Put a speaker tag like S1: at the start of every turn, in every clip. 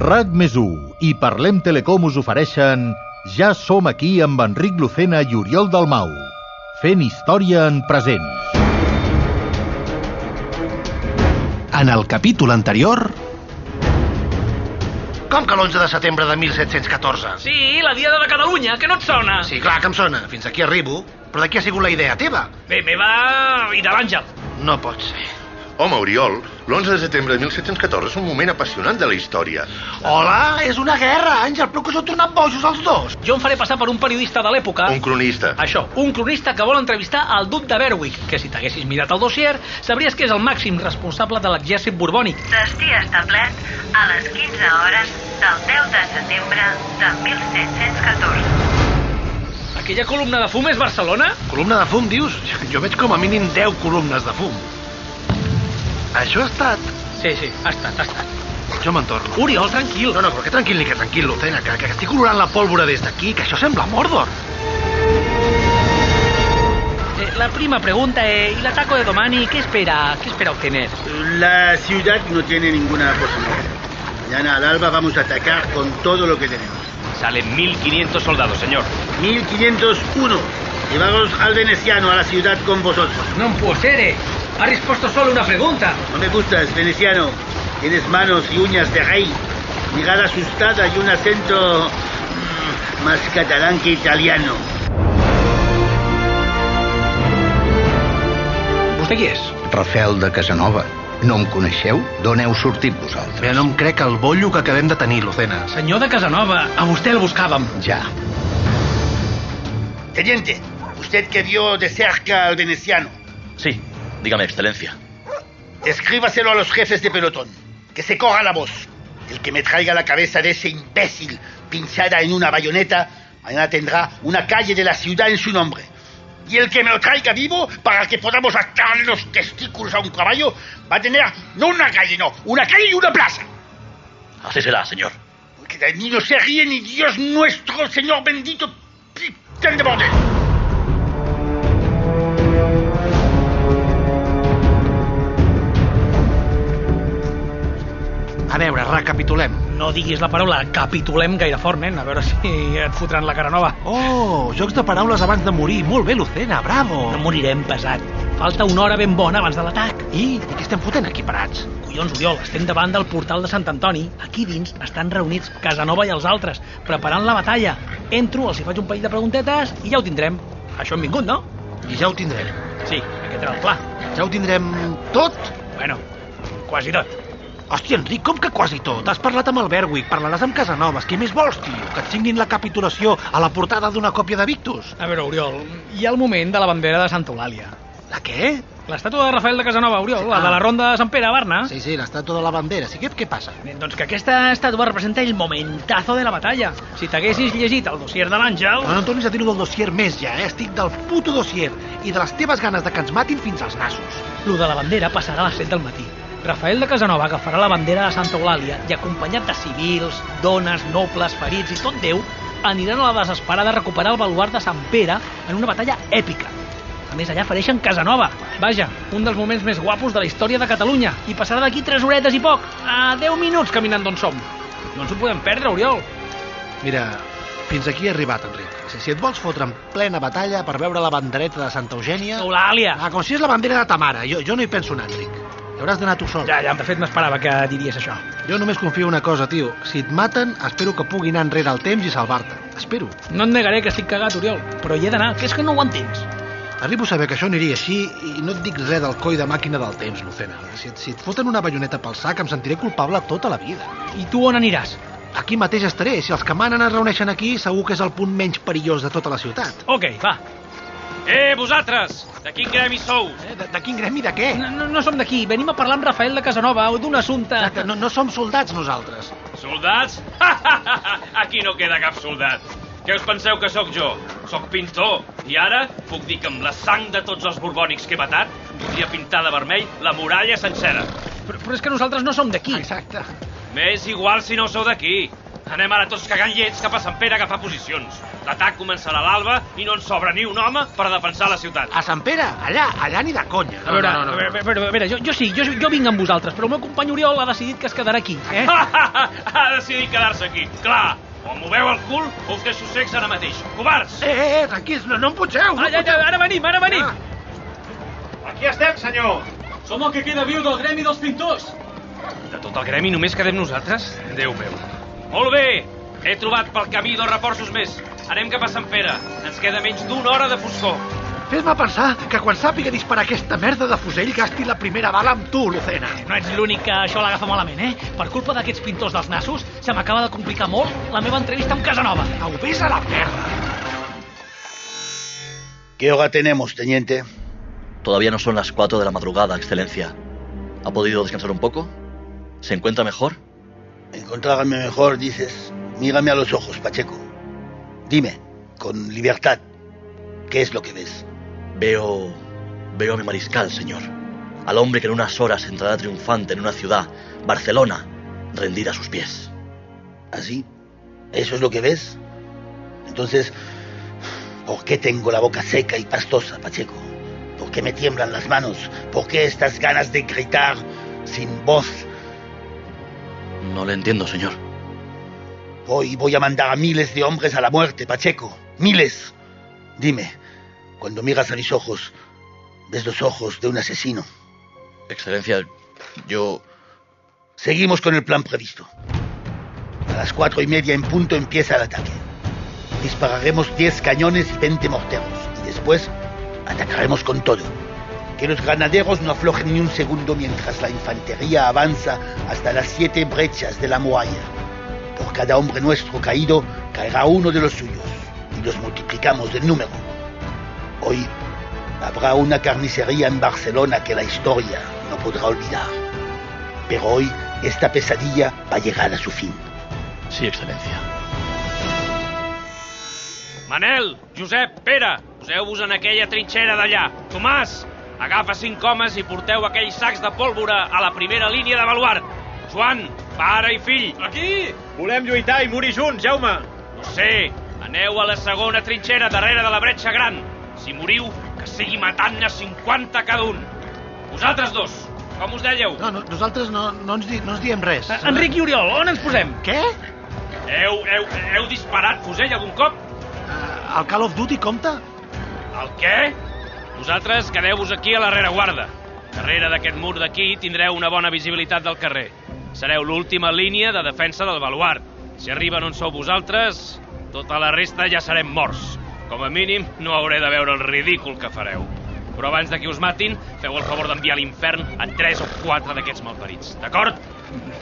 S1: RAC més 1 i Parlem Telecom us ofereixen Ja som aquí amb Enric Lucena i Oriol Dalmau, fent història en present.
S2: En el capítol anterior...
S3: Com que l'11 de setembre de 1714?
S4: Sí, la Diada de Catalunya, que no et sona?
S3: Sí, clar que em sona. Fins aquí arribo. Però de qui ha sigut la idea teva?
S4: Bé, meva i de l'Àngel.
S3: No pot ser.
S5: Home, Oriol, l'11 de setembre de 1714 és un moment apassionant de la història.
S3: Hola, és una guerra, Àngel, però que us heu tornat bojos els dos.
S4: Jo em faré passar per un periodista de l'època...
S5: Un cronista.
S4: Això, un cronista que vol entrevistar al duc de Berwick, que si t'haguessis mirat el dossier, sabries que és el màxim responsable de l'exèrcit borbònic.
S6: Destí establert a les 15 hores del 10 de setembre de 1714.
S4: Aquella columna de fum és Barcelona?
S3: Columna de fum, dius? Jo veig com a mínim 10 columnes de fum. Això ha estat...
S4: Sí, sí, ha estat, ha estat.
S3: Jo me'n torno.
S4: Oriol, tranquil.
S3: No, no, però que tranquil ni que tranquil, Lucena, que, que estic olorant la pólvora des d'aquí, que això sembla Mordor.
S4: Eh, la prima pregunta eh, ¿y la taco de Domani qué espera, qué espera obtener?
S7: La ciudad no tiene ninguna posibilidad. Mañana al alba vamos a atacar con todo lo que tenemos.
S8: Salen 1.500 soldados, señor.
S7: 1501. Llevaros al veneciano a la ciudad con vosotros.
S4: No può ser. Ha respuesto solo una pregunta.
S7: No me gustas, veneciano. Tienes manos y uñas de rey. Mirada asustada y un acento mm, más catalán que italiano.
S4: ¿Usted quién es?
S9: Rafael de Casanova. No em coneixeu? D'on heu sortit vosaltres?
S3: Mira, no em crec el bollo que acabem de tenir, Lucena.
S4: Senyor de Casanova, a vostè el buscàvem.
S9: Ja.
S7: Teniente, usted que vio de cerca al veneciano,
S8: Sí, dígame, excelencia.
S7: escríbaselo a los jefes de pelotón. Que se coja la voz. El que me traiga la cabeza de ese imbécil pinchada en una bayoneta, mañana tendrá una calle de la ciudad en su nombre. Y el que me lo traiga vivo para que podamos atarle los testículos a un caballo, va a tener no una calle, no, una calle y una plaza.
S8: Así será, señor.
S7: Porque de mí no se ríe ni Dios nuestro, Señor bendito, pitán de bordel.
S3: A veure, recapitulem.
S4: No diguis la paraula capitulem gaire fort, nen, a veure si et fotran la cara nova.
S3: Oh, jocs de paraules abans de morir. Molt bé, Lucena, bravo.
S4: No morirem pesat. Falta una hora ben bona abans de l'atac.
S3: I, i què estem fotent aquí parats?
S4: Collons, Oriol, estem davant del portal de Sant Antoni. Aquí dins estan reunits Casanova i els altres, preparant la batalla. Entro, els hi faig un parell de preguntetes i ja ho tindrem. Això hem vingut, no?
S3: I ja ho tindrem.
S4: Sí, aquest era el pla.
S3: Ja ho tindrem tot?
S4: Bueno, quasi tot.
S3: Hòstia, Enric, com que quasi tot? Has parlat amb el Berwick, parlaràs amb Casanovas, què més vols, tio? Que et signin la capitulació a la portada d'una còpia de Victus?
S4: A veure, Oriol, hi ha el moment de la bandera de Santa Eulàlia.
S3: La què? Ah.
S4: L'estàtua de Rafael de Casanova, Oriol, la de la Ronda de Sant Pere a Barna.
S3: Sí, sí, l'estàtua de la bandera. Sí, què, què passa?
S4: Bé, Doncs que aquesta estàtua representa el momentazo de la batalla. Si t'haguessis llegit el dossier de l'Àngel...
S3: No, no em tornis a dir-ho del dossier més ja, eh? Estic del puto dossier i de les teves ganes de que ens matin fins als nassos.
S4: Lo de la bandera passarà a les 7 del matí. Rafael de Casanova agafarà la bandera de Santa Eulàlia i acompanyat de civils, dones, nobles, ferits i tot Déu, aniran a la desesperada a recuperar el baluart de Sant Pere en una batalla èpica. A més, allà fareixen Casanova. Vaja, un dels moments més guapos de la història de Catalunya. I passarà d'aquí 3 horetes i poc, a 10 minuts caminant d'on som. No ens ho podem perdre, Oriol.
S3: Mira, fins aquí he arribat, Enric. Si, si et vols fotre en plena batalla per veure la bandereta de Santa Eugènia...
S4: Eulàlia!
S3: Ah, com si és la bandera de ta mare. Jo, jo no hi penso anar, Enric. Hi hauràs d'anar tu sol.
S4: Ja, ja, de fet m'esperava que diries això.
S3: Jo només confio en una cosa, tio. Si et maten, espero que pugui anar enrere el temps i salvar-te. Espero.
S4: No et negaré que estic cagat, Oriol, però hi he d'anar, que és que no ho entens.
S3: Arribo a saber que això aniria així i no et dic res del coi de màquina del temps, Lucena. Si et, si et foten una bayoneta pel sac, em sentiré culpable tota la vida.
S4: I tu on aniràs?
S3: Aquí mateix estaré. Si els que manen es reuneixen aquí, segur que és el punt menys perillós de tota la ciutat.
S4: Ok, va.
S8: Eh, vosaltres! De quin gremi sou?
S3: Eh, de, de quin gremi de què?
S4: No, no, no som d'aquí, venim a parlar amb Rafael de Casanova o d'un assumpte...
S3: Exacte, no, no som soldats nosaltres.
S8: Soldats? Aquí no queda cap soldat. Què us penseu que sóc jo? Sóc pintor. I ara puc dir que amb la sang de tots els borbònics que he matat podria pintar de vermell la muralla sencera.
S4: Però, però és que nosaltres no som d'aquí.
S3: Exacte.
S8: M'és igual si no sou d'aquí. Anem ara tots cagant llets cap a Sant Pere a agafar posicions. L'atac començarà a l'alba i no ens sobra ni un home per defensar la ciutat.
S3: A Sant Pere, allà, allà ni de conya.
S4: A veure, a veure, a veure, a veure, jo, jo sí, jo, jo vinc amb vosaltres, però el meu company Oriol ha decidit que es quedarà aquí, eh?
S3: Ah!
S8: ha decidit quedar-se aquí. Clar, o moveu el cul o us deixo secs ara mateix. Covards!
S3: Eh, eh, eh, tranquils, no, no em Ah. putxeu.
S8: Ah,
S3: No
S4: Ara,
S3: em
S4: ara,
S3: putxeu.
S4: ara venim, ara venim!
S8: Aquí estem, senyor! Som el que queda viu del gremi dels pintors! De tot el gremi només quedem nosaltres? Déu meu. Molt bé! He trobat pel camí dos reforços més. Anem cap a Sant Pere. Ens queda menys d'una hora de foscor.
S3: Fes-me pensar que quan sàpiga disparar aquesta merda de fusell gasti la primera bala amb tu, Lucena.
S4: No ets l'únic que això l'agafa malament, eh? Per culpa d'aquests pintors dels nassos, se m'acaba de complicar molt la meva entrevista amb Casanova.
S3: Au, vés a la merda.
S7: ¿Qué hora tenemos, teniente?
S10: Todavía no son las 4 de la madrugada, Excelencia. ¿Ha podido descansar un poco? ¿Se encuentra mejor?
S7: Encontrárame mejor, dices. Mírame a los ojos, Pacheco. Dime, con libertad, ¿qué es lo que ves?
S10: Veo... Veo a mi mariscal, señor. Al hombre que en unas horas entrará triunfante en una ciudad, Barcelona, rendida a sus pies.
S7: ¿Así? ¿Ah, ¿Eso es lo que ves? Entonces, ¿por qué tengo la boca seca y pastosa, Pacheco? ¿Por qué me tiemblan las manos? ¿Por qué estas ganas de gritar sin voz?
S10: No le entiendo, señor.
S7: Hoy voy a mandar a miles de hombres a la muerte, Pacheco. Miles. Dime, cuando miras a mis ojos, ves los ojos de un asesino.
S10: Excelencia, yo...
S7: Seguimos con el plan previsto. A las cuatro y media en punto empieza el ataque. Dispararemos 10 cañones y 20 morteros. Y después atacaremos con todo. Que los granaderos no aflojen ni un segundo mientras la infantería avanza hasta las siete brechas de la muralla. Por Pues cada hombre nuestro caído caerá uno de los suyos. Y los multiplicamos de número. Hoy habrá una carnicería en Barcelona que la historia no podrá olvidar. Pero hoy esta pesadilla va a llegar a su fin.
S10: Sí, Excelencia.
S8: Manel, Josep, Pere, poseu-vos en aquella trinxera d'allà. Tomàs, agafa cinc homes i porteu aquells sacs de pólvora a la primera línia de baluart. Joan, pare i fill. Aquí! Volem lluitar i morir junts, Jaume. No sé, aneu a la segona trinxera darrere de la bretxa gran. Si moriu, que sigui matant-ne 50 cada un. Vosaltres dos, com us dèieu?
S3: No, no, nosaltres no, no, ens di, no ens diem res.
S4: Eh, Enric i Oriol, on ens posem?
S3: Què?
S8: Heu, heu, heu disparat fusell algun cop?
S3: Eh, El Call of Duty compta?
S8: El què? Vosaltres quedeu-vos aquí a la rereguarda. Darrere d'aquest mur d'aquí tindreu una bona visibilitat del carrer. Sereu l'última línia de defensa del baluart. Si arriben on sou vosaltres, tota la resta ja serem morts. Com a mínim, no hauré de veure el ridícul que fareu. Però abans de que us matin, feu el favor d'enviar a l'infern a tres o quatre d'aquests malparits, d'acord?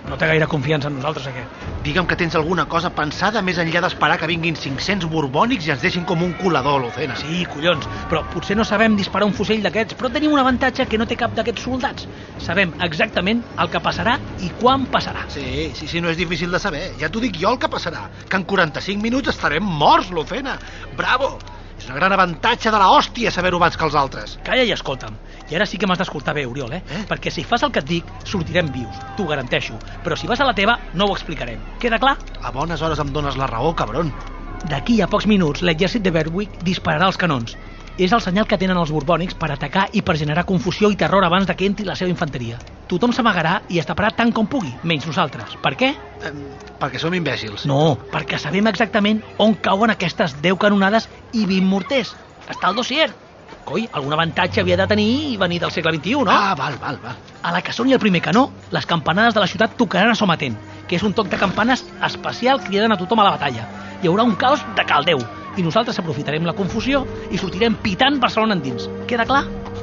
S4: No té gaire confiança en nosaltres, aquest.
S3: Digue'm que tens alguna cosa pensada més enllà d'esperar que vinguin 500 borbònics i ens deixin com un colador, Lucena.
S4: Sí, collons, però potser no sabem disparar un fusell d'aquests, però tenim un avantatge que no té cap d'aquests soldats. Sabem exactament el que passarà i quan passarà.
S3: Sí, sí, sí, no és difícil de saber. Ja t'ho dic jo el que passarà, que en 45 minuts estarem morts, Lucena. Bravo! És un gran avantatge de la hòstia saber-ho abans que els altres.
S4: Calla i escolta'm. I ara sí que m'has d'escoltar bé, Oriol, eh?
S3: Eh?
S4: Perquè si fas el que et dic, sortirem vius, t'ho garanteixo. Però si vas a la teva, no ho explicarem. Queda clar?
S3: A bones hores em dones la raó, cabron.
S4: D'aquí a pocs minuts, l'exèrcit de Berwick dispararà els canons. És el senyal que tenen els borbònics per atacar i per generar confusió i terror abans de que entri la seva infanteria. Tothom s'amagarà i es taparà tant com pugui, menys nosaltres. Per què?
S3: Eh, perquè som imbècils.
S4: No, perquè sabem exactament on cauen aquestes 10 canonades i 20 morters. Està al dossier. Coi, algun avantatge havia de tenir i venir del segle XXI, no?
S3: Ah, val, val, val.
S4: A la que soni el primer canó, les campanades de la ciutat tocaran a somatent, que és un toc de campanes especial cridant a tothom a la batalla. Hi haurà un caos de caldeu, i nosaltres aprofitarem la confusió i sortirem pitant Barcelona endins. Queda clar?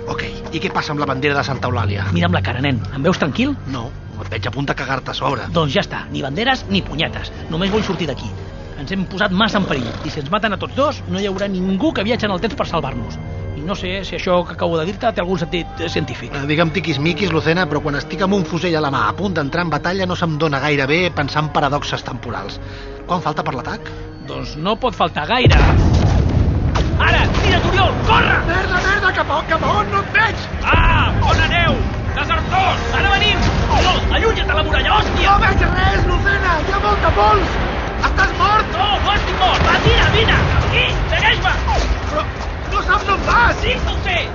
S3: Ok, i què passa amb la bandera de Santa Eulàlia?
S4: Mira'm la cara, nen. Em veus tranquil?
S3: No, et veig a punt de cagar-te a sobre.
S4: Doncs ja està, ni banderes ni punyetes. Només vull sortir d'aquí. Ens hem posat massa en perill i si ens maten a tots dos no hi haurà ningú que viatgi en el temps per salvar-nos. I no sé si això que acabo de dir-te té algun sentit eh, científic.
S3: Eh, Digue'm tiquis-miquis, Lucena, però quan estic amb un fusell a la mà a punt d'entrar en batalla no se'm dona gaire bé pensar en paradoxes temporals. Quan falta per l'atac?
S4: Doncs no pot faltar gaire. Ara, tira't, Oriol, corre!
S3: Merda, merda, cap on, cap on, no et veig!
S8: Ah, on aneu? Desertors!
S4: Ara venim! Oriol, allunya't de la muralla, hòstia!
S3: veig res, Lucena, hi ha molta pols! no em fas!
S11: Sí que ho sé!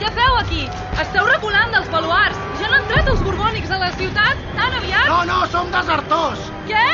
S12: Què feu aquí? Esteu reculant dels baluars. Ja no han tret els borbònics a la ciutat tan aviat?
S3: No, no, som desertors!
S12: Què?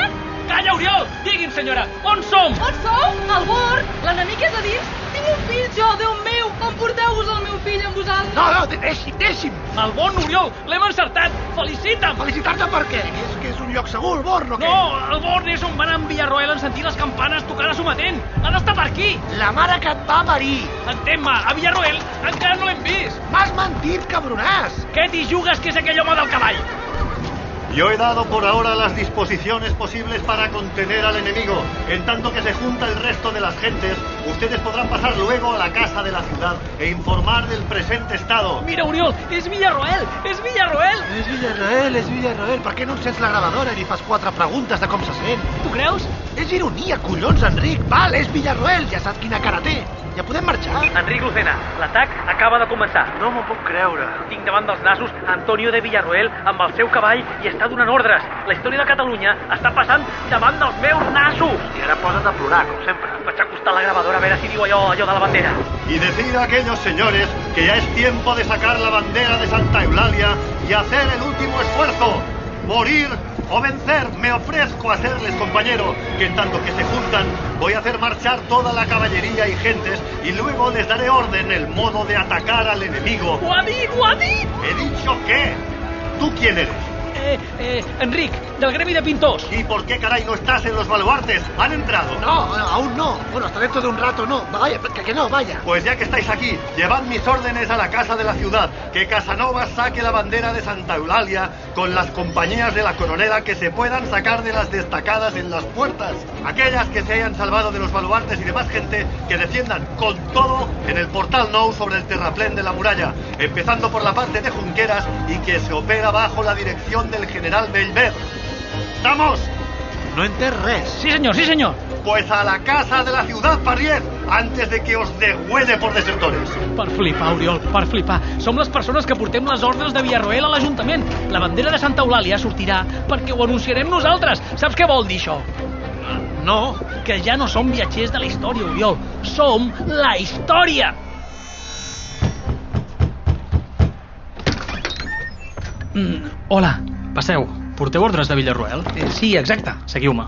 S11: Calla, Oriol! Digui'm, senyora, on som?
S12: On sou? Al bord? L'enemic és a dins? Tinc un fill jo, Déu meu! Emporteu-vos el meu fill amb vosaltres!
S3: No, no, deixi'm, deixi'm!
S11: El bon Oriol, l'hem encertat! Felicita'm!
S3: Felicitar-te per què? És que és un lloc segur, el Born, o què?
S11: No, el Born és on van enviar Roel en sentir les campanes tocant a sometent. Han d'estar per aquí.
S3: La mare que et va parir!
S11: Entén-me, a Villarroel encara no l'hem vist.
S3: M'has mentit, cabronàs!
S11: Què t'hi jugues que és aquell home del cavall?
S13: Yo he dado por ahora las disposiciones posibles para contener al enemigo. En tanto que se junta el resto de las gentes, ustedes podrán pasar luego a la casa de la ciudad e informar del presente estado.
S11: Mira, Oriol, és Villarroel! És Villarroel!
S3: És Villarroel, és Villarroel. Per què no encens la gravadora i li fas quatre preguntes de com se sent?
S11: Tu creus?
S3: És ironia, collons, Enric. Val, és Villarroel, ja saps quina cara té. Ja podem marxar?
S4: Enric Lucena, l'atac acaba de començar.
S3: No m'ho puc creure.
S4: Tinc davant dels nassos Antonio de Villarroel amb el seu cavall i està donant ordres. La història de Catalunya està passant davant dels meus nassos.
S3: I ara posa't a plorar, com sempre.
S4: Vaig a acostar la gravadora a veure si diu allò, allò de la bandera.
S13: Y decir a aquellos señores que ya es tiempo de sacar la bandera de Santa Eulalia y hacer el último esfuerzo. Morir o vencer, me ofrezco a serles compañero, que en tanto que se juntan, voy a hacer marchar toda la caballería y gentes y luego les daré orden el modo de atacar al enemigo.
S11: ¡Guadí, guadí!
S13: He dicho que... ¿Tú quién eres?
S4: Eh, eh, Enric, del gremi de pintors.
S13: ¿Y por qué caray no estás en los baluartes? ¿Han entrado?
S3: No, aún no. Bueno, hasta dentro de un rato no. Vaya, que, que no, vaya.
S13: Pues ya que estáis aquí, llevad mis órdenes a la casa de la ciudad. Que Casanova saque la bandera de Santa Eulalia con las compañías de la coronela que se puedan sacar de las destacadas en las puertas. Aquellas que se hayan salvado de los baluartes y demás gente que defiendan con todo en el portal Nou sobre el terraplén de la muralla. Empezando por la parte de Junqueras y que se opera bajo la dirección del general Belver. ¡Estamos!
S3: No entes res.
S4: Sí, señor, sí, señor.
S13: Pues a la casa de la ciudad, Parrier, antes de que os degüede por desertores.
S4: Per flipar, Oriol, per flipar. Som les persones que portem les ordres de Villarroel a l'Ajuntament. La bandera de Santa Eulàlia sortirà perquè ho anunciarem nosaltres. Saps què vol dir això?
S3: No,
S4: que ja no som viatgers de la història, Oriol. Som la història! Mm, hola,
S14: passeu. Porteu ordres de Villarroel?
S4: Eh, Sí, exacte.
S14: Seguiu-me.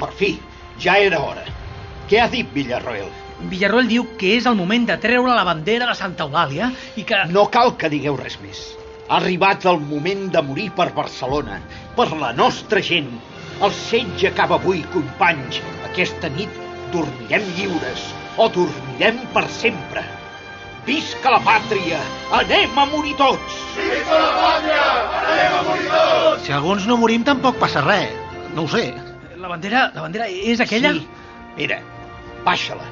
S9: Per fi, ja era hora. Què ha dit Villarroel?
S4: Villarroel diu que és el moment de treure la bandera de Santa Eulàlia i que...
S9: No cal que digueu res més. Ha arribat el moment de morir per Barcelona, per la nostra gent. El setge acaba avui, companys. Aquesta nit dormirem lliures o dormirem per sempre. Visca la pàtria! Anem a morir tots!
S15: Visca la pàtria! Anem a morir tots!
S3: Si alguns no morim tampoc passa res. No ho sé.
S4: La bandera, la bandera és aquella?
S9: Sí. Mira, baixa-la.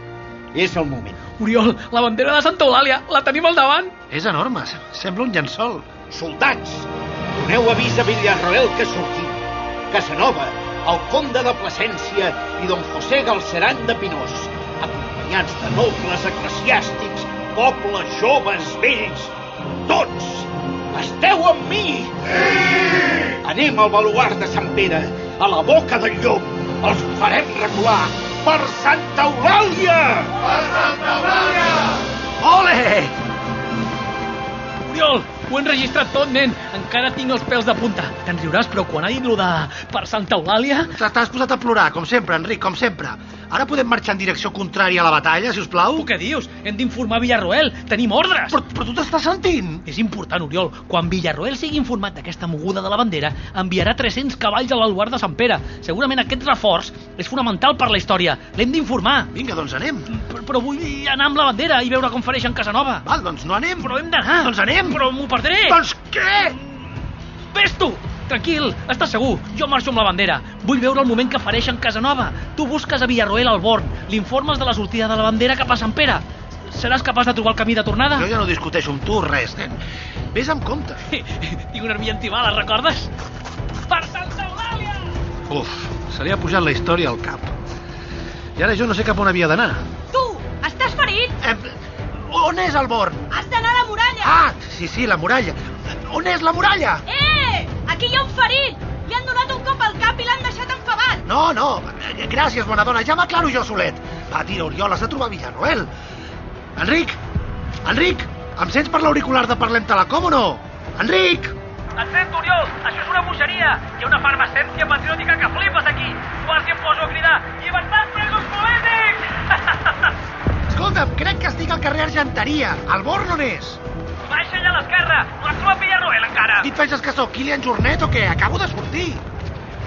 S9: És el moment.
S4: Oriol, la bandera de Santa Eulàlia, la tenim al davant.
S3: És enorme, sembla un llençol.
S9: Soldats, doneu avís a Villarroel que sortim. Casanova, el comte de Plasència i don José Galceran de Pinós, acompanyats de nobles eclesiàstics poble, joves, vells, tots! Esteu amb mi! Sí! Anem al baluart de Sant Pere, a la boca del llop. Els farem recular per Santa Eulàlia!
S15: Per Santa Eulàlia!
S3: Ole!
S4: Oriol, ho hem registrat tot, nen. Encara tinc els pèls de punta. Te'n riuràs, però quan ha dit lo de... per Santa Eulàlia...
S3: T'has posat a plorar, com sempre, Enric, com sempre. Ara podem marxar en direcció contrària a la batalla, si us plau?
S4: Tu què dius? Hem d'informar Villarroel. Tenim ordres.
S3: Però, però tu t'estàs sentint?
S4: És important, Oriol. Quan Villarroel sigui informat d'aquesta moguda de la bandera, enviarà 300 cavalls a l'alguard de Sant Pere. Segurament aquest reforç és fonamental per la història. L'hem d'informar.
S3: Vinga, doncs anem.
S4: Però, però vull anar amb la bandera i veure com fareix en Casanova.
S3: Val, doncs no anem.
S4: Però hem d'anar.
S3: Doncs anem.
S4: Però m'ho perdré.
S3: Doncs què?
S4: Ves tu! Tranquil, estàs segur. Jo marxo amb la bandera. Vull veure el moment que fareix en Casanova. Tu busques a Villarroel al Born, l'informes de la sortida de la bandera cap a Sant Pere. Seràs capaç de trobar el camí de tornada?
S3: Jo ja no discuteixo amb tu res, nen. Ves amb compte.
S4: Tinc una armilla antibala, recordes? Per Santa Eulàlia!
S3: Uf, se li ha pujat la història al cap. I ara jo no sé cap on havia d'anar.
S12: Tu, estàs ferit?
S3: Eh, on és el Born?
S12: Has d'anar a la muralla!
S3: Ah, sí, sí, la muralla. On és la muralla?
S12: Eh! Aquí hi ha un ferit! Li han donat un cop al cap i l'han deixat enfadat!
S3: No, no, Eh, Gràcies, bona dona, ja m'aclaro jo solet. Va, tira, Oriol, has de trobar Villarroel. Enric! Enric! Em sents per l'auricular de Parlem Telecom o no? Enric!
S11: Et sento, Oriol! Això és una bogeria! Hi ha una farmacèntia patriòtica que flipes aquí! Quasi em poso a cridar! Llibertat presos polítics!
S3: Escolta'm, crec que estic al carrer Argenteria. El Born on és?
S11: Baixa allà a l'esquerra! No has trobat Villarroel encara!
S3: Qui et penses que sóc? Kilian Jornet o què? Acabo de sortir.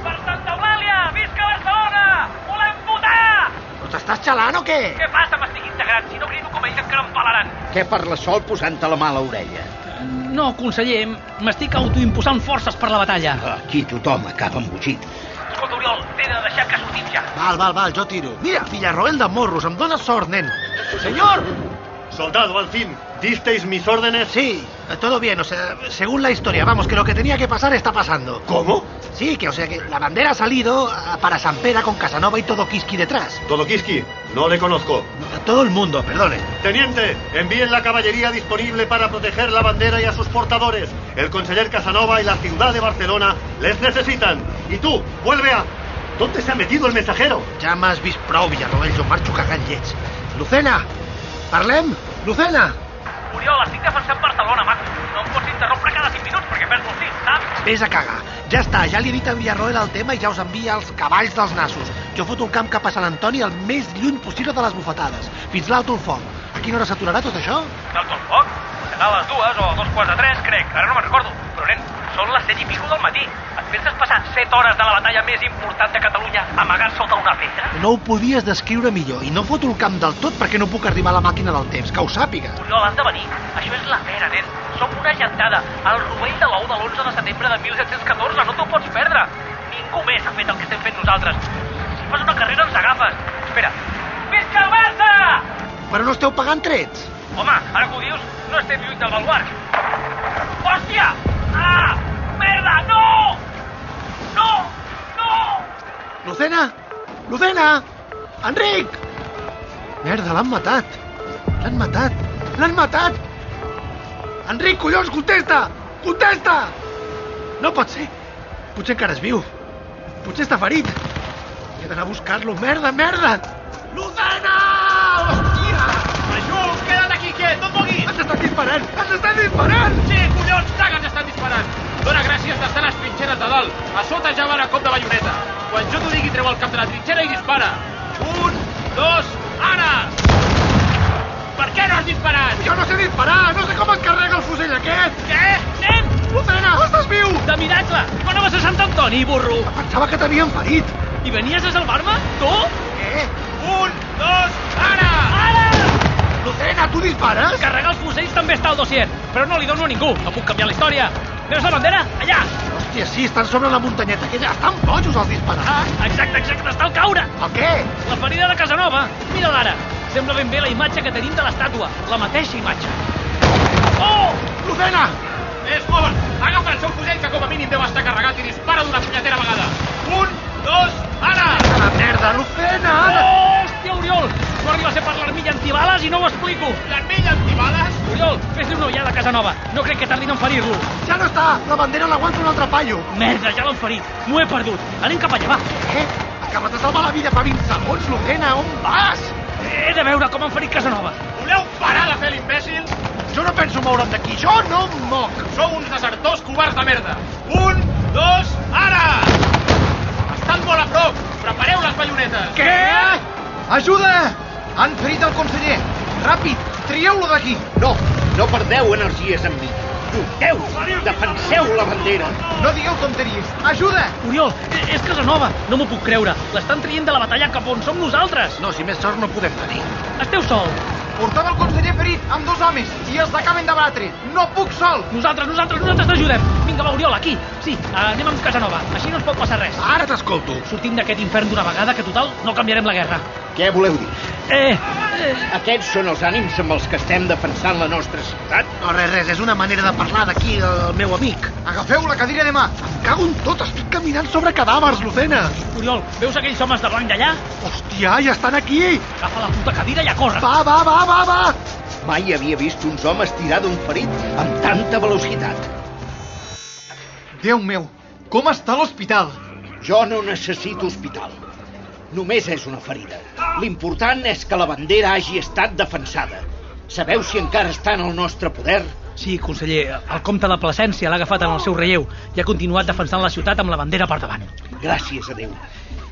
S11: Per Santa Eulàlia! Visca Barcelona! Volem votar!
S3: Però t'estàs xalant o què?
S11: Què passa? M'estic integrant. Si no grido com ells encara em palaran.
S9: Què parla sol posant-te la mà a l'orella?
S4: No, conseller, m'estic autoimposant forces per la batalla.
S3: Ah.
S9: Aquí tothom acaba embogit.
S11: Escolta, Oriol, t'he de deixar que sortim ja.
S3: Val, val, val, jo tiro. Mira, Villarroel de morros, em dóna sort, nen. Senyor!
S13: Soldado, al fin, ¿disteis mis órdenes?
S3: Sí, eh, todo bien, o sea, según la historia, vamos, que lo que tenía que pasar está pasando.
S13: ¿Cómo?
S3: Sí, que o sea que la bandera ha salido ah, para San Pera con Casanova y todo Kiski detrás.
S13: Todokiski, no le conozco.
S3: A Todo el mundo, perdone.
S13: Teniente, envíen la caballería disponible para proteger la bandera y a sus portadores. El conseller Casanova y la ciudad de Barcelona les necesitan. Y tú, vuelve a... ¿Dónde se ha metido el mensajero?
S3: Ja m'has vist prou, Villarroel, jo marxo cagant lleig. Lucena, parlem? Lucena!
S11: Oriol, estic defensant Barcelona, maco. No em pots interrompre cada 5 minuts perquè perds el fil, saps?
S3: Vés a cagar. Ja està, ja li he dit a Villarroel el tema i ja us envia els cavalls dels nassos. Jo foto el camp cap a Sant Antoni el més lluny possible de les bufetades, fins l'alto el foc. A quina hora s'aturarà tot això?
S11: Salto el foc? Serà a les dues o a dos quarts de tres, crec. Ara no me'n recordo. Però, nen, són les set i pico del matí. Et penses passar set hores de la batalla més important de Catalunya amagat sota una pedra?
S3: No ho podies descriure millor i no foto el camp del tot perquè no puc arribar a la màquina del temps, que ho sàpigues.
S11: Oriol, has de venir. Això és la pera, nen. Som una gentada. El rovell de l'ou de l'11 de setembre de 1714. No t'ho pots perdre. Ningú més ha fet el que estem fent nosaltres. Si fas una carrera ens agafes. Espera. Visca el Barça!
S3: Però no esteu pagant trets?
S11: Home, ara que ho dius, no estem lluny del baluart. Hòstia! Ah! Merda! No! No! No!
S3: Lucena! Lucena! Enric! Merda, l'han matat. L'han matat. L'han matat! Enric, collons, contesta! Contesta! No pot ser. Potser encara és viu. Potser està ferit. He d'anar a buscar-lo. Merda, merda! Lucena! Hòstia!
S11: Ajut! Queda't aquí quiet! No et moguis!
S3: Ens estan disparant! Ens estan disparant!
S11: Sí, collons! Saga ens estan disparant! Dóna gràcies d'estar a les trinxeres de dalt. A sota ja van a cop de balloneta. Quan jo t'ho digui, treu el cap de la trinxera i dispara. Un, dos, ara! Per què no has disparat?
S3: Jo no sé disparar! No sé com es carrega el fusell aquest!
S11: Què? Nen!
S3: Lucena, estàs viu!
S11: De miracle! Com no vas a Sant Antoni, burro?
S3: Pensava que t'havien ferit.
S11: I venies a salvar-me? Tu?
S3: Què?
S11: Un, dos, ara! Ara!
S3: Lucena, tu dispares?
S11: Carregar els fusells també està al dossier, però no li dono a ningú. No puc canviar la història. Veus la bandera? Allà!
S3: Hòstia, sí, estan sobre la muntanyeta aquella. Estan bojos els disparats.
S11: Ah, exacte, exacte, està al caure.
S3: El què?
S11: La ferida de Casanova. Mira l'ara. Sembla ben bé la imatge que tenim de l'estàtua. La mateixa imatge. Oh!
S3: Lucena!
S11: Més fort! Agafa el seu fusell que com a mínim deu estar carregat i dispara d'una punyetera vegada. Un, dos, ara!
S3: La merda, Lucena! Ara!
S11: Oh, hòstia, Oriol! No arriba a ser per l'armilla antibales i no ho explico. L'armilla antibales? Oriol, fes-li una ullada a casa nova. No crec que tardin en ferir-lo.
S3: Ja no està! La bandera l'aguanta un altre paio.
S11: Merda, ja l'han ferit. M'ho he perdut. Anem cap allà, va.
S3: Què? Acabes de salvar la vida fa 20 segons, Lucena. On vas?
S11: He de veure com han ferit Casanova. Voleu parar de fer l'imbècil?
S3: Jo no penso moure'm d'aquí. Jo no em moc.
S11: Sou uns desertors covards de merda. Un, dos, ara! Estan molt a prop. Prepareu les baionetes.
S3: Què? Ajuda! Han ferit el conseller. Ràpid, trieu-lo d'aquí.
S9: No, no perdeu energies amb mi. Lluiteu, defenseu la bandera.
S3: No digueu tonteries. Ajuda!
S4: Oriol,
S11: eh,
S4: e- és Casanova. No m'ho puc creure. L'estan traient de la batalla cap on som nosaltres.
S3: No, si més sort no podem tenir.
S11: eh,
S4: Esteu sol.
S16: Portem el conseller ferit amb dos homes i els acaben de batre. No puc sol!
S4: Nosaltres, nosaltres, nosaltres t'ajudem. Vinga, va, Oriol, aquí. Sí, anem amb Casanova. Així no ens pot passar res.
S3: Ara t'escolto.
S4: Sortim d'aquest infern d'una vegada que, total, no canviarem la guerra.
S9: Què voleu dir?
S4: Eh,
S9: Aquests són els ànims amb els que estem defensant la nostra ciutat?
S3: No, res, res, és una manera de parlar d'aquí del meu amic.
S16: Agafeu la cadira de mà.
S3: Em cago en tot, estic caminant sobre cadàvers, Lucena.
S4: Oriol, veus aquells homes de blanc d'allà?
S3: Hòstia, ja estan aquí!
S4: Agafa la puta cadira i a córrer.
S3: Va, va, va, va, va!
S9: Mai havia vist uns homes tirar d'un ferit amb tanta velocitat.
S16: Déu meu, com està l'hospital?
S9: Jo no necessito hospital. Només és una ferida. L'important és que la bandera hagi estat defensada. Sabeu si encara està en el nostre poder?
S4: Sí, conseller, el comte de Plasència l'ha agafat en el seu relleu i ha continuat defensant la ciutat amb la bandera per davant.
S9: Gràcies a Déu.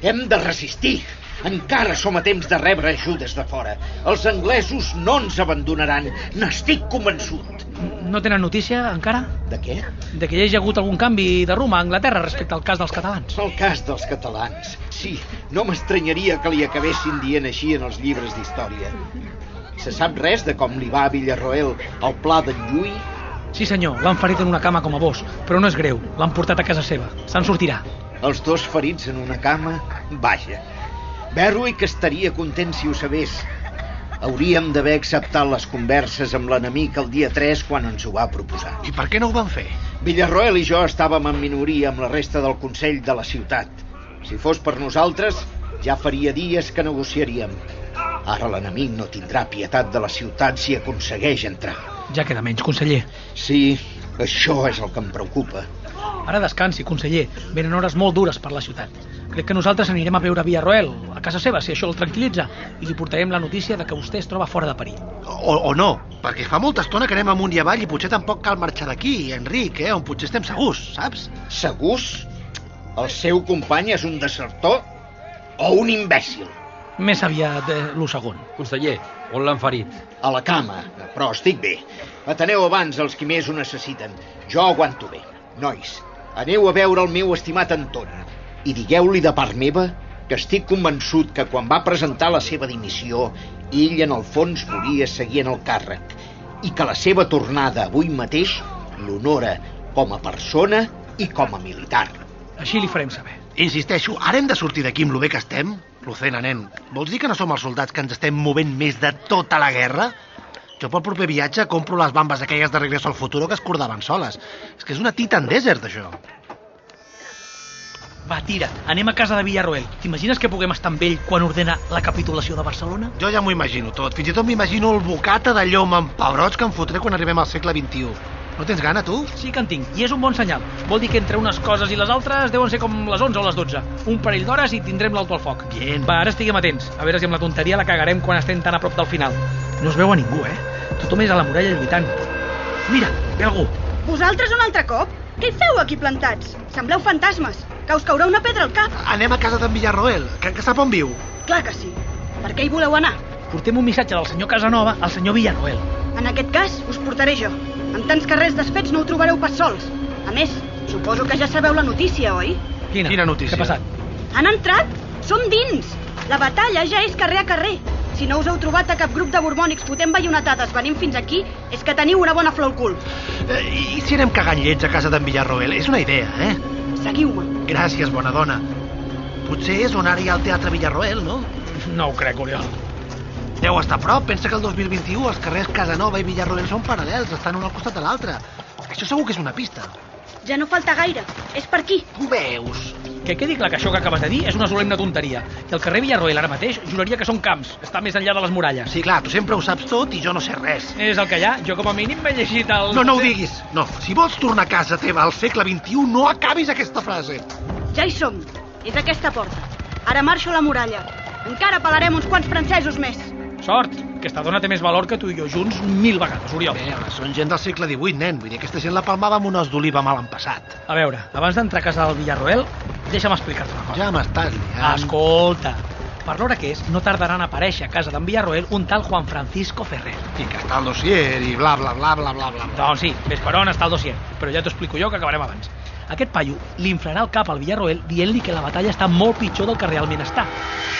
S9: Hem de resistir. Encara som a temps de rebre ajudes de fora. Els anglesos no ens abandonaran. N'estic convençut.
S4: No tenen notícia, encara?
S9: De què?
S4: De que hi hagi hagut algun canvi de rumb a Anglaterra respecte al cas dels catalans.
S9: El cas dels catalans. Sí, no m'estranyaria que li acabessin dient així en els llibres d'història. Se sap res de com li va a Villarroel el pla d'en Llull?
S4: Sí, senyor, l'han ferit en una cama com a vos, però no és greu. L'han portat a casa seva. Se'n sortirà.
S9: Els dos ferits en una cama? Vaja. Berwick estaria content si ho sabés. Hauríem d'haver acceptat les converses amb l'enemic el dia 3 quan ens ho va proposar.
S3: I per què no ho van fer?
S9: Villarroel i jo estàvem en minoria amb la resta del Consell de la ciutat. Si fos per nosaltres, ja faria dies que negociaríem. Ara l'enemic no tindrà pietat de la ciutat si aconsegueix entrar.
S4: Ja queda menys, conseller.
S9: Sí, això és el que em preocupa.
S4: Ara descansi, conseller. Venen hores molt dures per la ciutat. Crec que nosaltres anirem a veure Villarroel, a casa seva, si això el tranquil·litza, i li portarem la notícia de que vostè es troba fora de perill.
S3: O, o no, perquè fa molta estona que anem amunt i avall i potser tampoc cal marxar d'aquí, Enric, eh? On potser estem segurs, saps?
S9: Segurs? El seu company és un desertor o un imbècil?
S4: Més aviat, eh, lo segon.
S17: Conseller, on l'han ferit?
S9: A la cama, però estic bé. Ateneu abans els qui més ho necessiten. Jo aguanto bé. Nois, aneu a veure el meu estimat Anton i digueu-li de part meva que estic convençut que quan va presentar la seva dimissió, ell en el fons volia seguir en el càrrec i que la seva tornada avui mateix l'honora com a persona i com a militar.
S4: Així li farem saber.
S3: Insisteixo, ara hem de sortir d'aquí amb lo bé que estem? Lucena, nen, vols dir que no som els soldats que ens estem movent més de tota la guerra? Jo pel proper viatge compro les bambes aquelles de Regreso al Futuro que es cordaven soles. És que és una Titan Desert, això.
S4: Va, tira, anem a casa de Villarroel. T'imagines que puguem estar amb ell quan ordena la capitulació de Barcelona?
S3: Jo ja m'ho imagino tot. Fins i tot m'imagino el bocata de llom amb pebrots que em fotré quan arribem al segle XXI. No tens gana, tu?
S4: Sí que en tinc, i és un bon senyal. Vol dir que entre unes coses i les altres deuen ser com les 11 o les 12. Un parell d'hores i tindrem l'auto al foc.
S3: Bien.
S4: Va, ara estiguem atents. A veure si amb la tonteria la cagarem quan estem tan a prop del final. No es veu a ningú, eh? Tothom és a la muralla lluitant. Mira, ve algú.
S18: Vosaltres un altre cop? Què hi feu aquí plantats? Sembleu fantasmes, que us caurà una pedra al cap.
S3: Anem a casa d'en Villarroel, que, que sap on viu.
S18: Clar que sí. Per què hi voleu anar?
S4: Portem un missatge del senyor Casanova al senyor Villarroel.
S18: En aquest cas, us portaré jo. Amb tants carrers desfets no ho trobareu pas sols. A més, suposo que ja sabeu la notícia, oi?
S4: Quina? Quina notícia? Què ha passat?
S18: Han entrat! Som dins! La batalla ja és carrer a carrer. Si no us heu trobat a cap grup de borbònics fotent ballonetades venint fins aquí, és que teniu una bona flor al cul.
S3: Eh, I si anem cagant llets a casa d'en Villarroel? És una idea, eh?
S18: Seguiu-me.
S3: Gràcies, bona dona. Potser és on ara hi ha el Teatre Villarroel, no?
S4: No ho crec, Oriol.
S3: Deu estar a prop. Pensa que el 2021 els carrers Casanova i Villarroel són paral·lels, estan un al costat de l'altre. Això segur que és una pista.
S18: Ja no falta gaire. És per aquí.
S3: Ho veus?
S4: Que quedi clar que això que acabes de dir és una solemne tonteria. I el carrer Villarroel ara mateix juraria que són camps. Està més enllà de les muralles.
S3: Sí, clar, tu sempre ho saps tot i jo no sé res.
S4: És el que hi ha. Jo com a mínim m'he llegit el...
S3: No, no ho diguis. No, si vols tornar a casa teva al segle XXI, no acabis aquesta frase.
S18: Ja hi som. És aquesta porta. Ara marxo a la muralla. Encara pelarem uns quants francesos més.
S4: Sort! Aquesta dona té més valor que tu i jo junts mil vegades, Oriol.
S3: Bé, home, són gent del segle XVIII, nen. Vull dir, aquesta gent la palmava amb un os d'oliva mal empassat.
S4: A veure, abans d'entrar a casa del Villarroel, deixa'm explicar-te una cosa.
S3: Ja m'estàs liant.
S4: Escolta, per l'hora que és, no tardaran a aparèixer a casa d'en Villarroel un tal Juan Francisco Ferrer.
S3: I que està el dossier i bla, bla, bla, bla, bla, bla.
S4: Doncs sí, ves per on està el dossier, però ja t'ho explico jo que acabarem abans. Aquest paio li inflarà el cap al Villarroel dient-li que la batalla està molt pitjor del que realment està.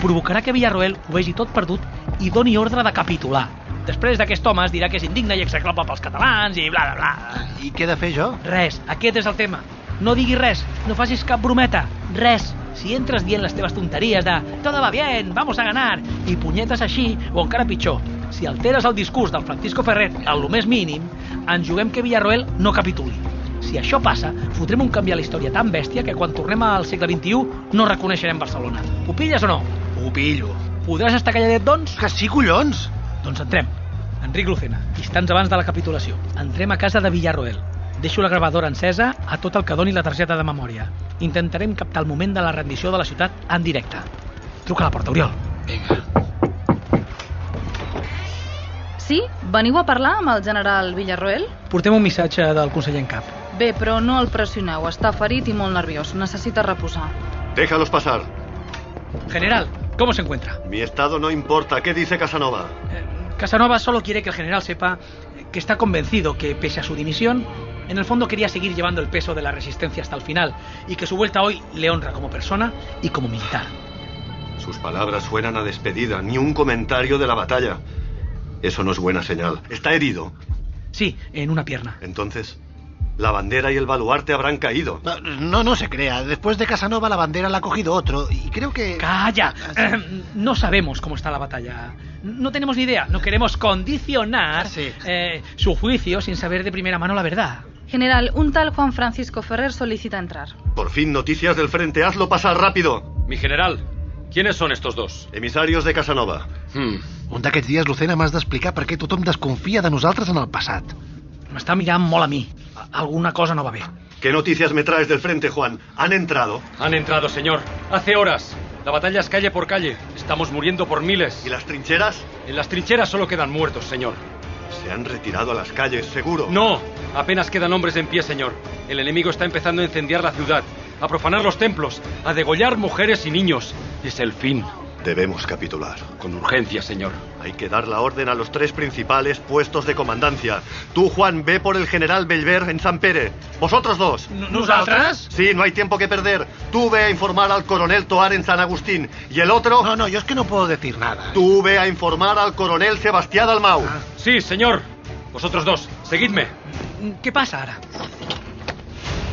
S4: Provocarà que Villarroel ho vegi tot perdut i doni ordre de capitular. Després d'aquest home es dirà que és indigne i execrable pels catalans i bla, bla, bla.
S3: I què he de fer jo?
S4: Res, aquest és el tema. No diguis res, no facis cap brometa, res. Si entres dient les teves tonteries de «Todo va bien, vamos a ganar» i punyetes així, o encara pitjor, si alteres el discurs del Francisco Ferrer al lo més mínim, ens juguem que Villarroel no capituli. Si això passa, fotrem un canvi a la història tan bèstia que quan tornem al segle XXI no reconeixerem Barcelona. Ho pilles o no?
S3: Ho pillo.
S4: Podràs estar calladet, doncs?
S3: Que sí, collons!
S4: Doncs entrem. Enric Lucena, instants abans de la capitulació. Entrem a casa de Villarroel. Deixo la gravadora encesa a tot el que doni la targeta de memòria. Intentarem captar el moment de la rendició de la ciutat en directe. Truca a la porta, Oriol.
S12: Sí? Veniu a parlar amb el general Villarroel?
S4: Portem un missatge del conseller en cap.
S12: Bé, però no el pressioneu. Està ferit i molt nerviós. Necessita reposar.
S13: Déjalos pasar.
S4: General, ¿cómo se encuentra?
S13: Mi estado no importa. ¿Qué dice Casanova?
S4: Casanova solo quiere que el general sepa que está convencido que, pese a su dimisión, en el fondo quería seguir llevando el peso de la resistencia hasta el final y que su vuelta hoy le honra como persona y como militar.
S13: Sus palabras suenan a despedida, ni un comentario de la batalla. Eso no es buena señal. Está herido.
S4: Sí, en una pierna.
S13: Entonces, la bandera y el baluarte habrán caído.
S3: No, no, no se crea. Después de Casanova la bandera la ha cogido otro y creo que... Ah,
S4: ¡Calla! Eh, no sabemos cómo está la batalla. No tenemos ni idea. No queremos condicionar eh, su juicio sin saber de primera mano la verdad.
S12: General, un tal Juan Francisco Ferrer solicita entrar.
S13: Por fin noticias del frente. Hazlo pasar rápido.
S19: Mi general, ¿quiénes son estos dos?
S13: Emisarios de Casanova.
S19: Hmm.
S3: Un d'aquests dies, Lucena, m'has d'explicar per què tothom desconfia de nosaltres en el passat.
S4: M'està mirant molt a mi. Alguna cosa no va bé.
S13: ¿Qué noticias me traes del frente, Juan? Han entrado.
S19: Han entrado, señor. Hace horas. La batalla es calle por calle. Estamos muriendo por miles.
S13: ¿Y las trincheras?
S19: En las trincheras solo quedan muertos, señor.
S13: Se han retirado a las calles, seguro.
S19: No, apenas quedan hombres en pie, señor. El enemigo está empezando a incendiar la ciudad, a profanar los templos, a degollar mujeres y niños. Es el fin.
S13: Debemos capitular.
S19: Con urgencia, señor.
S13: Hay que dar la orden a los tres principales puestos de comandancia. Tú, Juan, ve por el general Belver en San Pere. Vosotros dos.
S4: ¿Nosotras?
S13: Sí, no hay tiempo que perder. Tú ve a informar al coronel Toar en San Agustín. Y el otro...
S3: No, no, yo es que no puedo decir nada. ¿eh? Ah.
S13: Tú ve a informar al coronel Sebastián Dalmau.
S19: Sí, señor. Vosotros dos, seguidme.
S4: ¿Qué pasa ahora?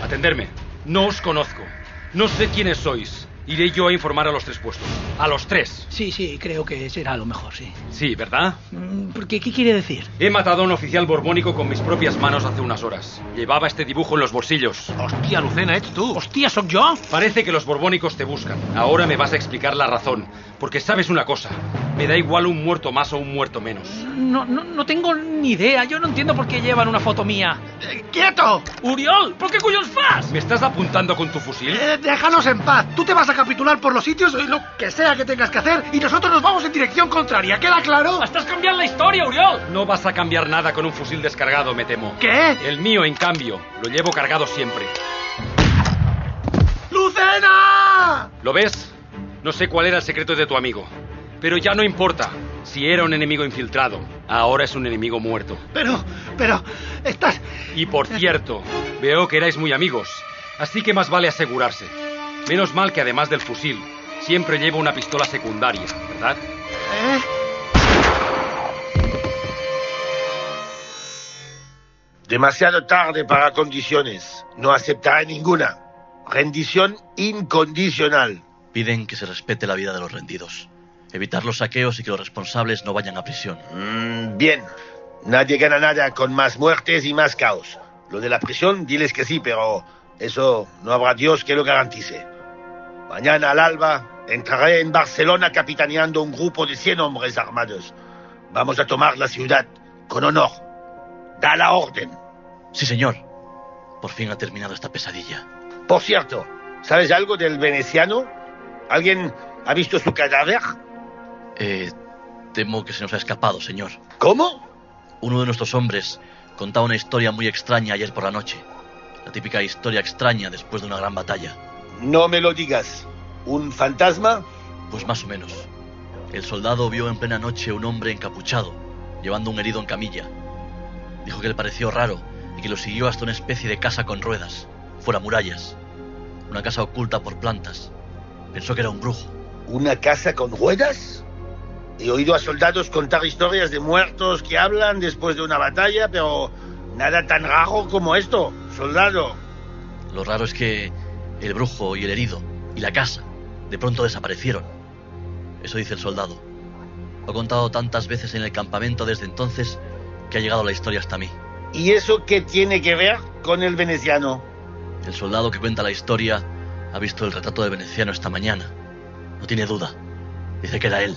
S19: Atenderme. No os conozco. No sé quiénes sois. Iré yo a informar a los tres puestos. A los tres.
S4: Sí, sí, creo que será lo mejor, sí.
S19: Sí, ¿verdad?
S4: Mm, Porque, ¿qué quiere decir?
S19: He matado a un oficial borbónico con mis propias manos hace unas horas. Llevaba este dibujo en los bolsillos.
S4: Hostia, Lucena, ets tu. Hostia, ¿soc yo?
S19: Parece que los borbónicos te buscan. Ahora me vas a explicar la razón. Porque sabes una cosa. Me da igual un muerto más o un muerto menos.
S4: No, no, no tengo ni idea. Yo no entiendo por qué llevan una foto mía.
S3: ¡Quieto!
S4: Uriol, ¿por qué cuyos fas?
S19: ¿Me estás apuntando con tu fusil?
S3: Eh, déjanos en paz. Tú te vas a capitular por los sitios y lo que sea que tengas que hacer y nosotros nos vamos en dirección contraria. ¿Queda claro?
S4: Estás cambiando la historia, Uriol.
S19: No vas a cambiar nada con un fusil descargado, me temo.
S3: ¿Qué?
S19: El mío, en cambio, lo llevo cargado siempre.
S3: ¡Lucena!
S19: ¿Lo ves? No sé cuál era el secreto de tu amigo. Pero ya no importa si era un enemigo infiltrado. Ahora es un enemigo muerto.
S3: Pero, pero, estás...
S19: Y por cierto, veo que erais muy amigos. Así que más vale asegurarse. Menos mal que además del fusil, siempre llevo una pistola secundaria, ¿verdad?
S3: ¿Eh?
S7: Demasiado tarde para condiciones. No aceptaré ninguna. Rendición incondicional.
S10: Piden que se respete la vida de los rendidos, evitar los saqueos y que los responsables no vayan a prisión.
S7: Mm, bien. Nadie gana nada con más muertes y más caos. Lo de la prisión, diles que sí, pero eso no habrá Dios que lo garantice. Mañana al alba entraré en Barcelona capitaneando un grupo de 100 hombres armados. Vamos a tomar la ciudad con honor. Da la orden.
S10: Sí, señor. Por fin ha terminado esta pesadilla.
S7: Por cierto, ¿sabes algo del veneciano? ¿Alguien ha visto su cadáver?
S10: Eh, temo que se nos ha escapado, señor.
S7: ¿Cómo?
S10: Uno de nuestros hombres contaba una historia muy extraña ayer por la noche. La típica historia extraña después de una gran batalla.
S7: No me lo digas. ¿Un fantasma?
S10: Pues más o menos. El soldado vio en plena noche un hombre encapuchado, llevando un herido en camilla. Dijo que le pareció raro y que lo siguió hasta una especie de casa con ruedas, fuera murallas. Una casa oculta por plantas. Pensó que era un brujo.
S7: ¿Una casa con ruedas? He oído a soldados contar historias de muertos que hablan después de una batalla, pero nada tan raro como esto, soldado.
S10: Lo raro es que el brujo y el herido y la casa de pronto desaparecieron. Eso dice el soldado. Lo he contado tantas veces en el campamento desde entonces que ha llegado la historia hasta mí.
S7: ¿Y eso qué tiene que ver con el veneciano?
S10: El soldado que cuenta la historia ha visto el retrato del veneciano esta mañana. No tiene duda. Dice que era él.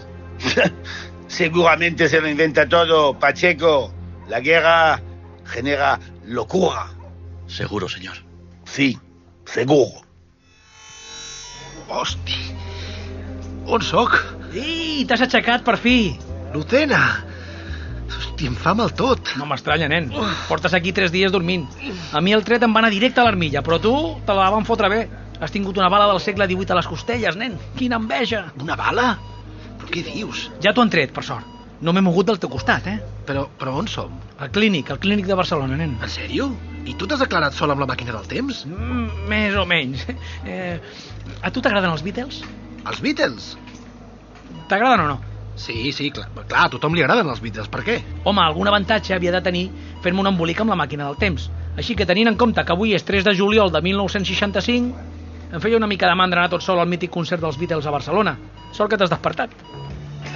S7: Seguramente se lo inventa todo, Pacheco. La guerra genera locura.
S10: Seguro, señor.
S7: Sí, seguro.
S3: Hostia. On sóc?
S4: Ei, t'has aixecat, per fi!
S3: Lucena! Hòstia, em fa mal tot.
S4: No m'estranya, nen. Portes aquí tres dies dormint. A mi el tret em va anar directe a l'armilla, però tu te la van fotre bé. Has tingut una bala del segle XVIII a les costelles, nen. Quina enveja!
S3: Una bala? Però què dius?
S4: Ja t'ho han tret, per sort. No m'he mogut del teu costat, eh?
S3: Però, però on som?
S4: Al clínic, al clínic de Barcelona, nen.
S3: En sèrio? I tu t'has declarat sol amb la màquina del temps?
S4: Mm, més o menys. Eh, a tu t'agraden els Beatles?
S3: Els Beatles?
S4: T'agraden o no?
S3: Sí, sí, clar, clar, a tothom li agraden els Beatles, per què?
S4: Home, algun avantatge havia de tenir fer-me un embolic amb la màquina del temps. Així que tenint en compte que avui és 3 de juliol de 1965, em feia una mica de mandra anar tot sol al mític concert dels Beatles a Barcelona. Sort que t'has despertat.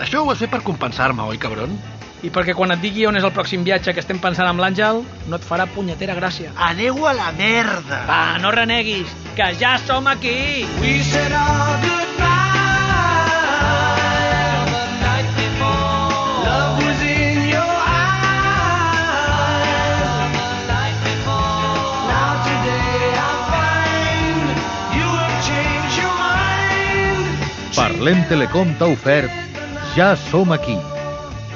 S3: Això ho has fet per compensar-me, oi, cabron?
S4: I perquè quan et digui on és el pròxim viatge que estem pensant amb l'Àngel, no et farà punyetera gràcia.
S3: Aneu a la merda!
S4: Va, no reneguis, que ja som aquí! We said all goodbye
S1: Parlem Telecom t'ha ofert Ja som aquí,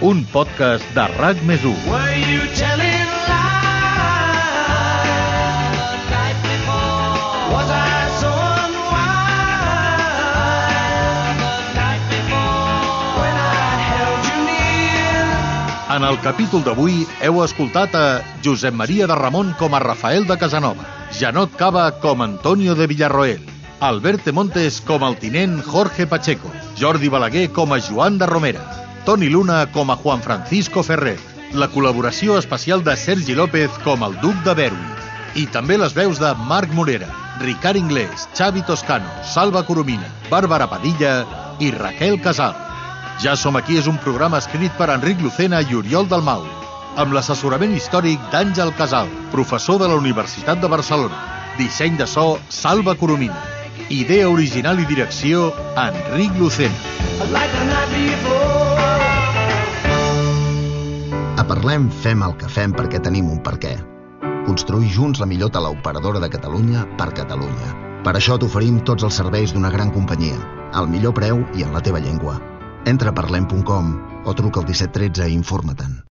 S1: un podcast de RAC més 1.
S20: Were you telling lies the night before? Was I so unwise the night before when I held you near?
S1: En el capítol d'avui heu escoltat a Josep Maria de Ramon com a Rafael de Casanova, Janot Cava com a Antonio de Villarroel, Albert Montes com el tinent Jorge Pacheco, Jordi Balaguer com a Joan de Romera, Toni Luna com a Juan Francisco Ferrer, la col·laboració especial de Sergi López com el duc de Berwi, i també les veus de Marc Morera, Ricard Inglés, Xavi Toscano, Salva Coromina, Bàrbara Padilla i Raquel Casal. Ja som aquí és un programa escrit per Enric Lucena i Oriol Dalmau, amb l'assessorament històric d'Àngel Casal, professor de la Universitat de Barcelona. Disseny de so, Salva Coromina. Idea original i direcció, Enric Lucena.
S20: Like the night before.
S21: A Parlem fem el que fem perquè tenim un per què. Construir junts la millor teleoperadora de Catalunya per Catalunya. Per això t'oferim tots els serveis d'una gran companyia, al millor preu i en la teva llengua. Entra a parlem.com o truca al 1713 i informa-te'n.